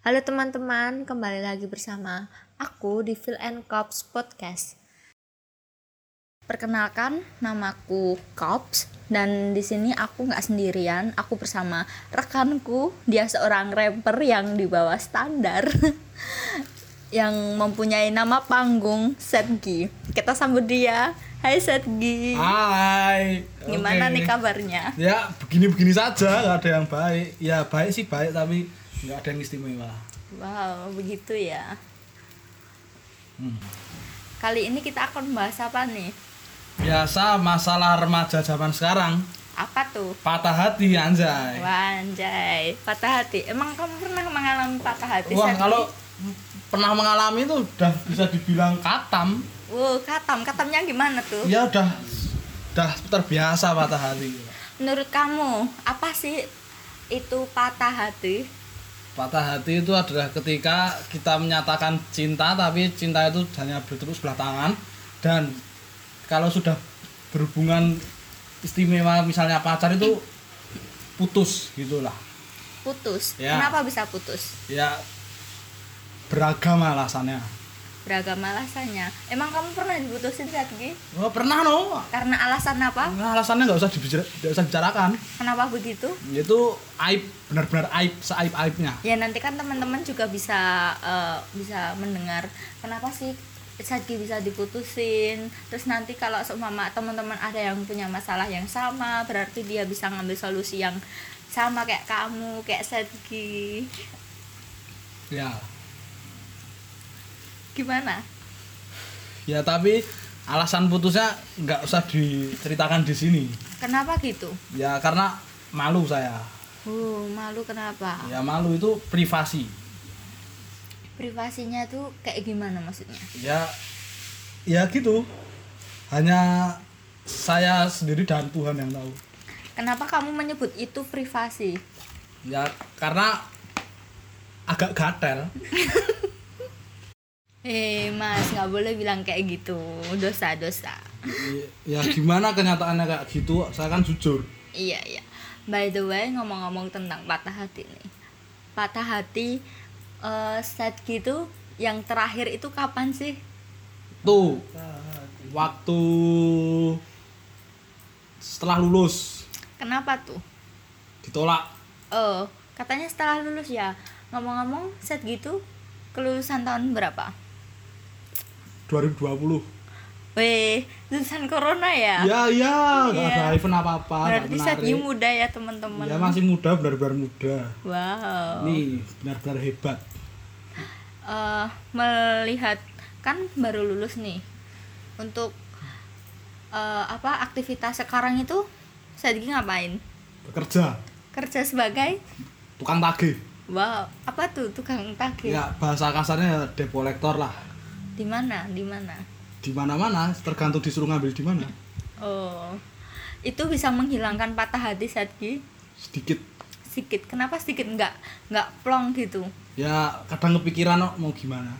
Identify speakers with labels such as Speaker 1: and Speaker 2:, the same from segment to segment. Speaker 1: Halo teman-teman, kembali lagi bersama aku di Phil and Cops Podcast.
Speaker 2: Perkenalkan, namaku Kops dan di sini aku nggak sendirian, aku bersama rekanku. Dia seorang rapper yang di bawah standar, yang mempunyai nama panggung Setgi. Kita sambut dia. Hai Setgi,
Speaker 3: Hai.
Speaker 2: gimana
Speaker 3: Ah, Oke.
Speaker 2: nih kabarnya?
Speaker 3: Ya begini-begini saja, nggak ada yang baik. Ya baik sih baik, tapi nggak ada yang istimewa.
Speaker 2: Wow, begitu ya.
Speaker 3: Hmm.
Speaker 2: Kali ini kita akan bahas apa nih?
Speaker 3: Biasa masalah remaja zaman sekarang,
Speaker 2: Apa tuh?
Speaker 3: patah hati anjay.
Speaker 2: Wah, anjay, patah hati. Emang kamu pernah mengalami patah hati?
Speaker 3: Wah
Speaker 2: Sandi?
Speaker 3: kalau pernah mengalami itu udah bisa dibilang katam,
Speaker 2: Wow, katam, katamnya gimana tuh?
Speaker 3: ya udah udah terbiasa patah hati.
Speaker 2: Menurut kamu, apa sih itu patah hati?
Speaker 3: Patah hati itu adalah ketika kita menyatakan cinta tapi cinta itu hanya bertepuk sebelah tangan dan kalau sudah berhubungan istimewa misalnya pacar itu putus gitulah.
Speaker 2: Putus.
Speaker 3: Ya.
Speaker 2: Kenapa bisa putus?
Speaker 3: Ya beragam alasannya.
Speaker 2: Beragam alasannya. Emang kamu pernah diputusin lagi?
Speaker 3: Wah, Oh, pernah no.
Speaker 2: Karena alasan apa?
Speaker 3: Nah, alasannya nggak usah dibicara, nggak usah dibicarakan.
Speaker 2: Kenapa begitu?
Speaker 3: Itu aib, benar-benar aib, seaib aibnya.
Speaker 2: Ya nanti kan teman-teman juga bisa eh, bisa mendengar kenapa sih Sadki bisa diputusin. Terus nanti kalau seumpama teman-teman ada yang punya masalah yang sama, berarti dia bisa ngambil solusi yang sama kayak kamu, kayak Sadki.
Speaker 3: Ya,
Speaker 2: Gimana?
Speaker 3: ya tapi alasan putusnya nggak usah diceritakan di sini.
Speaker 2: Kenapa gitu?
Speaker 3: Ya karena malu saya.
Speaker 2: Uh, malu kenapa?
Speaker 3: Ya malu itu privasi.
Speaker 2: Privasinya tuh kayak gimana maksudnya?
Speaker 3: Ya ya gitu. Hanya saya sendiri dan Tuhan yang tahu.
Speaker 2: Kenapa kamu menyebut itu privasi?
Speaker 3: Ya karena agak gatel.
Speaker 2: Eh, Mas, nggak boleh bilang kayak gitu. Dosa-dosa.
Speaker 3: Ya gimana kenyataannya kayak gitu? Saya kan jujur.
Speaker 2: Iya, iya. By the way, ngomong-ngomong tentang patah hati nih. Patah hati eh set gitu yang terakhir itu kapan sih?
Speaker 3: Tuh. Waktu setelah lulus
Speaker 2: Kenapa tuh?
Speaker 3: ditolak.
Speaker 2: Oh, katanya setelah lulus ya. Ngomong-ngomong, set gitu kelulusan tahun berapa?
Speaker 3: 2020.
Speaker 2: Weh, lulusan corona ya?
Speaker 3: Ya ya, nggak
Speaker 2: Iya.
Speaker 3: ada event apa-apa, nggak
Speaker 2: Berarti saat
Speaker 3: menarik.
Speaker 2: ini muda ya teman-teman.
Speaker 3: Ya masih muda, benar-benar muda.
Speaker 2: Wow.
Speaker 3: Nih, benar-benar hebat.
Speaker 2: Eh, melihat kan baru lulus nih. Untuk eh, apa aktivitas sekarang itu saya lagi ngapain?
Speaker 3: Bekerja,
Speaker 2: Kerja sebagai
Speaker 3: tukang tagih.
Speaker 2: wow apa tuh tukang tagih?
Speaker 3: Ya, bahasa kasarnya depolektor lah.
Speaker 2: Di mana? Di mana?
Speaker 3: Di mana-mana, tergantung disuruh ngambil di mana.
Speaker 2: Oh, itu bisa menghilangkan patah hati Sadgi
Speaker 3: Sedikit.
Speaker 2: sedikit. Kenapa sedikit nggak nggak plong gitu?
Speaker 3: Ya, kadang kepikiran "Oh, mau gimana.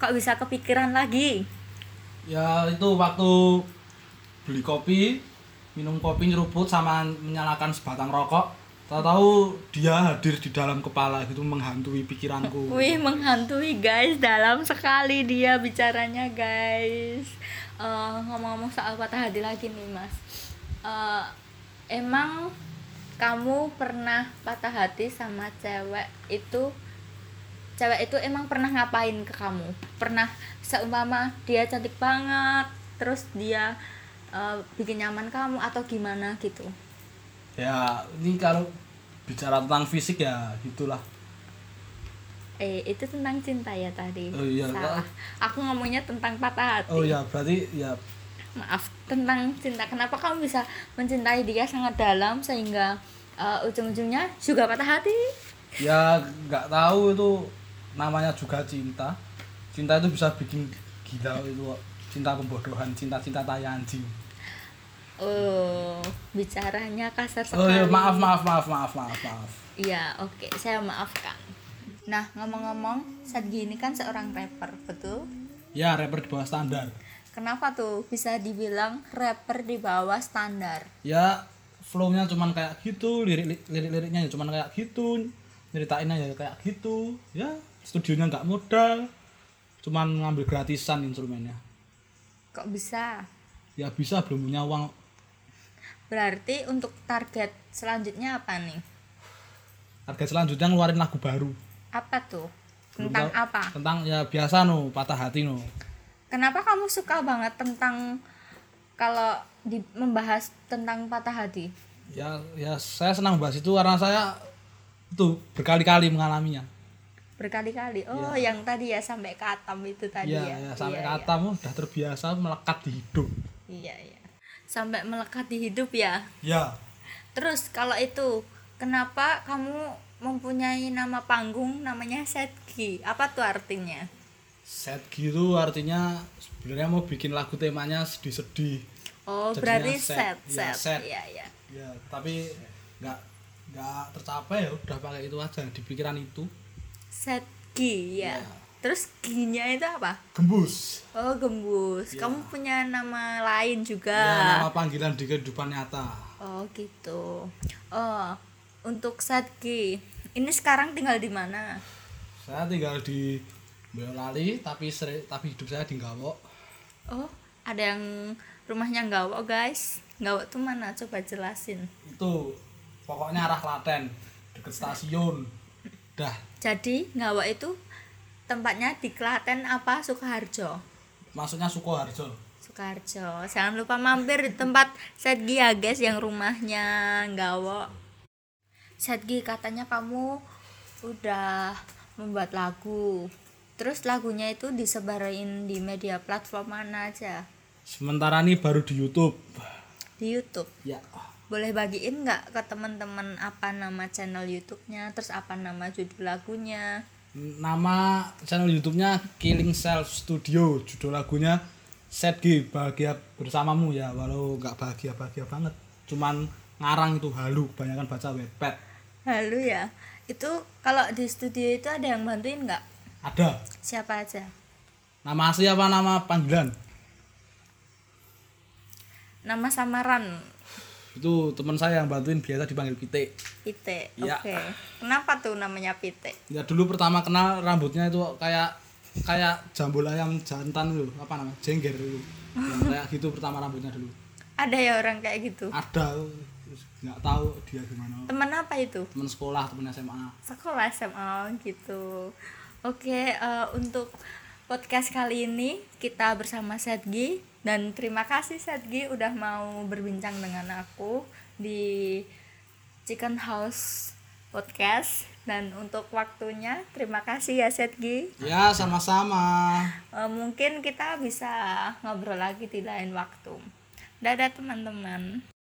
Speaker 2: Kok bisa kepikiran lagi?
Speaker 3: Ya, itu waktu beli kopi, minum kopi nyeruput sama menyalakan sebatang rokok. Tahu-tahu dia hadir di dalam kepala gitu menghantui pikiranku.
Speaker 2: Wih menghantui guys, dalam sekali dia bicaranya guys. Eh, Ngomong-ngomong soal patah hati lagi nih mas. Eh, emang kamu pernah patah hati sama cewek itu? Cewek itu emang pernah ngapain ke kamu? Pernah seumpama dia cantik banget, terus dia eh, bikin nyaman kamu atau gimana gitu?
Speaker 3: Ya, ini kalau bicara tentang fisik ya gitulah.
Speaker 2: Eh itu tentang cinta ya tadi.
Speaker 3: Oh, iya,
Speaker 2: Salah. Aku ngomongnya tentang patah hati.
Speaker 3: Oh ya, berarti ya
Speaker 2: maaf tentang cinta kenapa kamu bisa mencintai dia sangat dalam sehingga uh, ujung-ujungnya juga patah hati
Speaker 3: ya nggak tahu itu namanya juga cinta cinta itu bisa bikin gila itu cinta pembodohan cinta cinta tai anjing
Speaker 2: oh bicaranya kasar sekali
Speaker 3: oh iya, maaf maaf maaf maaf maaf maaf
Speaker 2: iya oke saya maafkan nah ngomong-ngomong Sadgi ini kan seorang rapper betul
Speaker 3: ya rapper di bawah standar
Speaker 2: kenapa tuh bisa dibilang rapper di bawah standar
Speaker 3: ya flownya cuman ya kayak gitu lirik lirik liriknya cuman kayak gitu nyeritain aja kayak gitu ya studionya nggak modal cuman ngambil gratisan instrumennya
Speaker 2: Kok bisa?
Speaker 3: ya bisa belum punya uang
Speaker 2: Berarti untuk target selanjutnya apa nih?
Speaker 3: target selanjutnya ngeluarin lagu baru
Speaker 2: Apa tuh?
Speaker 3: Belum
Speaker 2: Tentang
Speaker 3: tahu-
Speaker 2: apa?
Speaker 3: tentang ya biasa no patah hati no
Speaker 2: Kenapa kamu suka banget tentang kalau di, membahas tentang patah hati?
Speaker 3: ya ya saya senang bahas itu karena saya tuh berkali-kali mengalaminya
Speaker 2: Berkali-kali. Oh, yang tadi ya sampai katam itu tadi ya.
Speaker 3: ya, ya, Iya.
Speaker 2: Iya,
Speaker 3: sampai
Speaker 2: iya.
Speaker 3: kata "Oh, udah terbiasa melekat di hidung
Speaker 2: Iya, iya. Sampai melekat di hidup ya.
Speaker 3: ya
Speaker 2: Terus kalau itu, kenapa kamu mempunyai nama panggung namanya Setki? Apa tuh artinya?
Speaker 3: set gitu artinya sebenarnya mau bikin lagu temanya sedih-sedih
Speaker 2: Oh,
Speaker 3: Jadinya
Speaker 2: berarti
Speaker 3: set.
Speaker 2: set,
Speaker 3: Iya,
Speaker 2: set.
Speaker 3: set.
Speaker 2: Iya, iya.
Speaker 3: ya tapi nggak nggak tercapai ya udah pakai itu aja di pikiran itu
Speaker 2: Setki, ya.
Speaker 3: Iya.
Speaker 2: Terus ginya itu apa?
Speaker 3: gembus
Speaker 2: Oh, gembus. Kamu punya nama lain juga.
Speaker 3: ya Iya. nama panggilan di kehidupan nyata
Speaker 2: Oh, gitu. Oh, untuk Setki. Ini sekarang tinggal di mana?
Speaker 3: saya tinggal di Boyolali tapi seri, tapi hidup saya di Gawok
Speaker 2: Oh, ada yang rumahnya Gawok, guys. Gawok tuh mana? Coba jelasin.
Speaker 3: itu pokoknya arah Klaten deket stasiun dah
Speaker 2: Jadi Ngawak itu tempatnya di Klaten apa Sukoharjo?
Speaker 3: maksudnya Sukoharjo
Speaker 2: Sukoharjo. Jangan lupa mampir di tempat Setgi ya guys yang rumahnya Ngawak. Setgi katanya kamu udah membuat lagu. Terus lagunya itu disebarin di media platform mana aja?
Speaker 3: sementara ini baru di YouTube
Speaker 2: Di YouTube.
Speaker 3: ya
Speaker 2: Boleh bagiin nggak ke teman-teman apa nama channel YouTube-nya, terus apa nama judul lagunya?
Speaker 3: nama channel YouTube-nya Killing Self Studio judul lagunya Setgi bahagia bersamamu ya walau nggak bahagia bahagia banget cuman ngarang itu halu kebanyakan baca webpad
Speaker 2: Halo ya. Itu kalau di studio itu ada yang bantuin nggak?
Speaker 3: ada
Speaker 2: Siapa aja?
Speaker 3: nama asli apa nama panggilan
Speaker 2: Nama samaran
Speaker 3: itu teman saya yang bantuin biasa dipanggil Pite
Speaker 2: Pite.
Speaker 3: Iya.
Speaker 2: Oke. Kenapa tuh namanya Pite?
Speaker 3: ya dulu pertama kenal rambutnya itu kayak kayak jambul ayam jantan itu apa namanya jengger itu Ya, kayak gitu pertama rambutnya dulu
Speaker 2: Ada ya orang kayak gitu.
Speaker 3: ada terus nggak tahu dia gimana
Speaker 2: Temen apa itu?
Speaker 3: teman sekolah teman SMA
Speaker 2: Sekolah SMA gitu. Oke, eh, untuk podcast kali ini kita bersama Setgi dan terima kasih Setgi udah mau berbincang dengan aku di Chicken House Podcast dan untuk waktunya terima kasih ya Setgi.
Speaker 3: ya sama-sama
Speaker 2: Eh, mungkin kita bisa ngobrol lagi di lain waktu. Dadah teman-teman.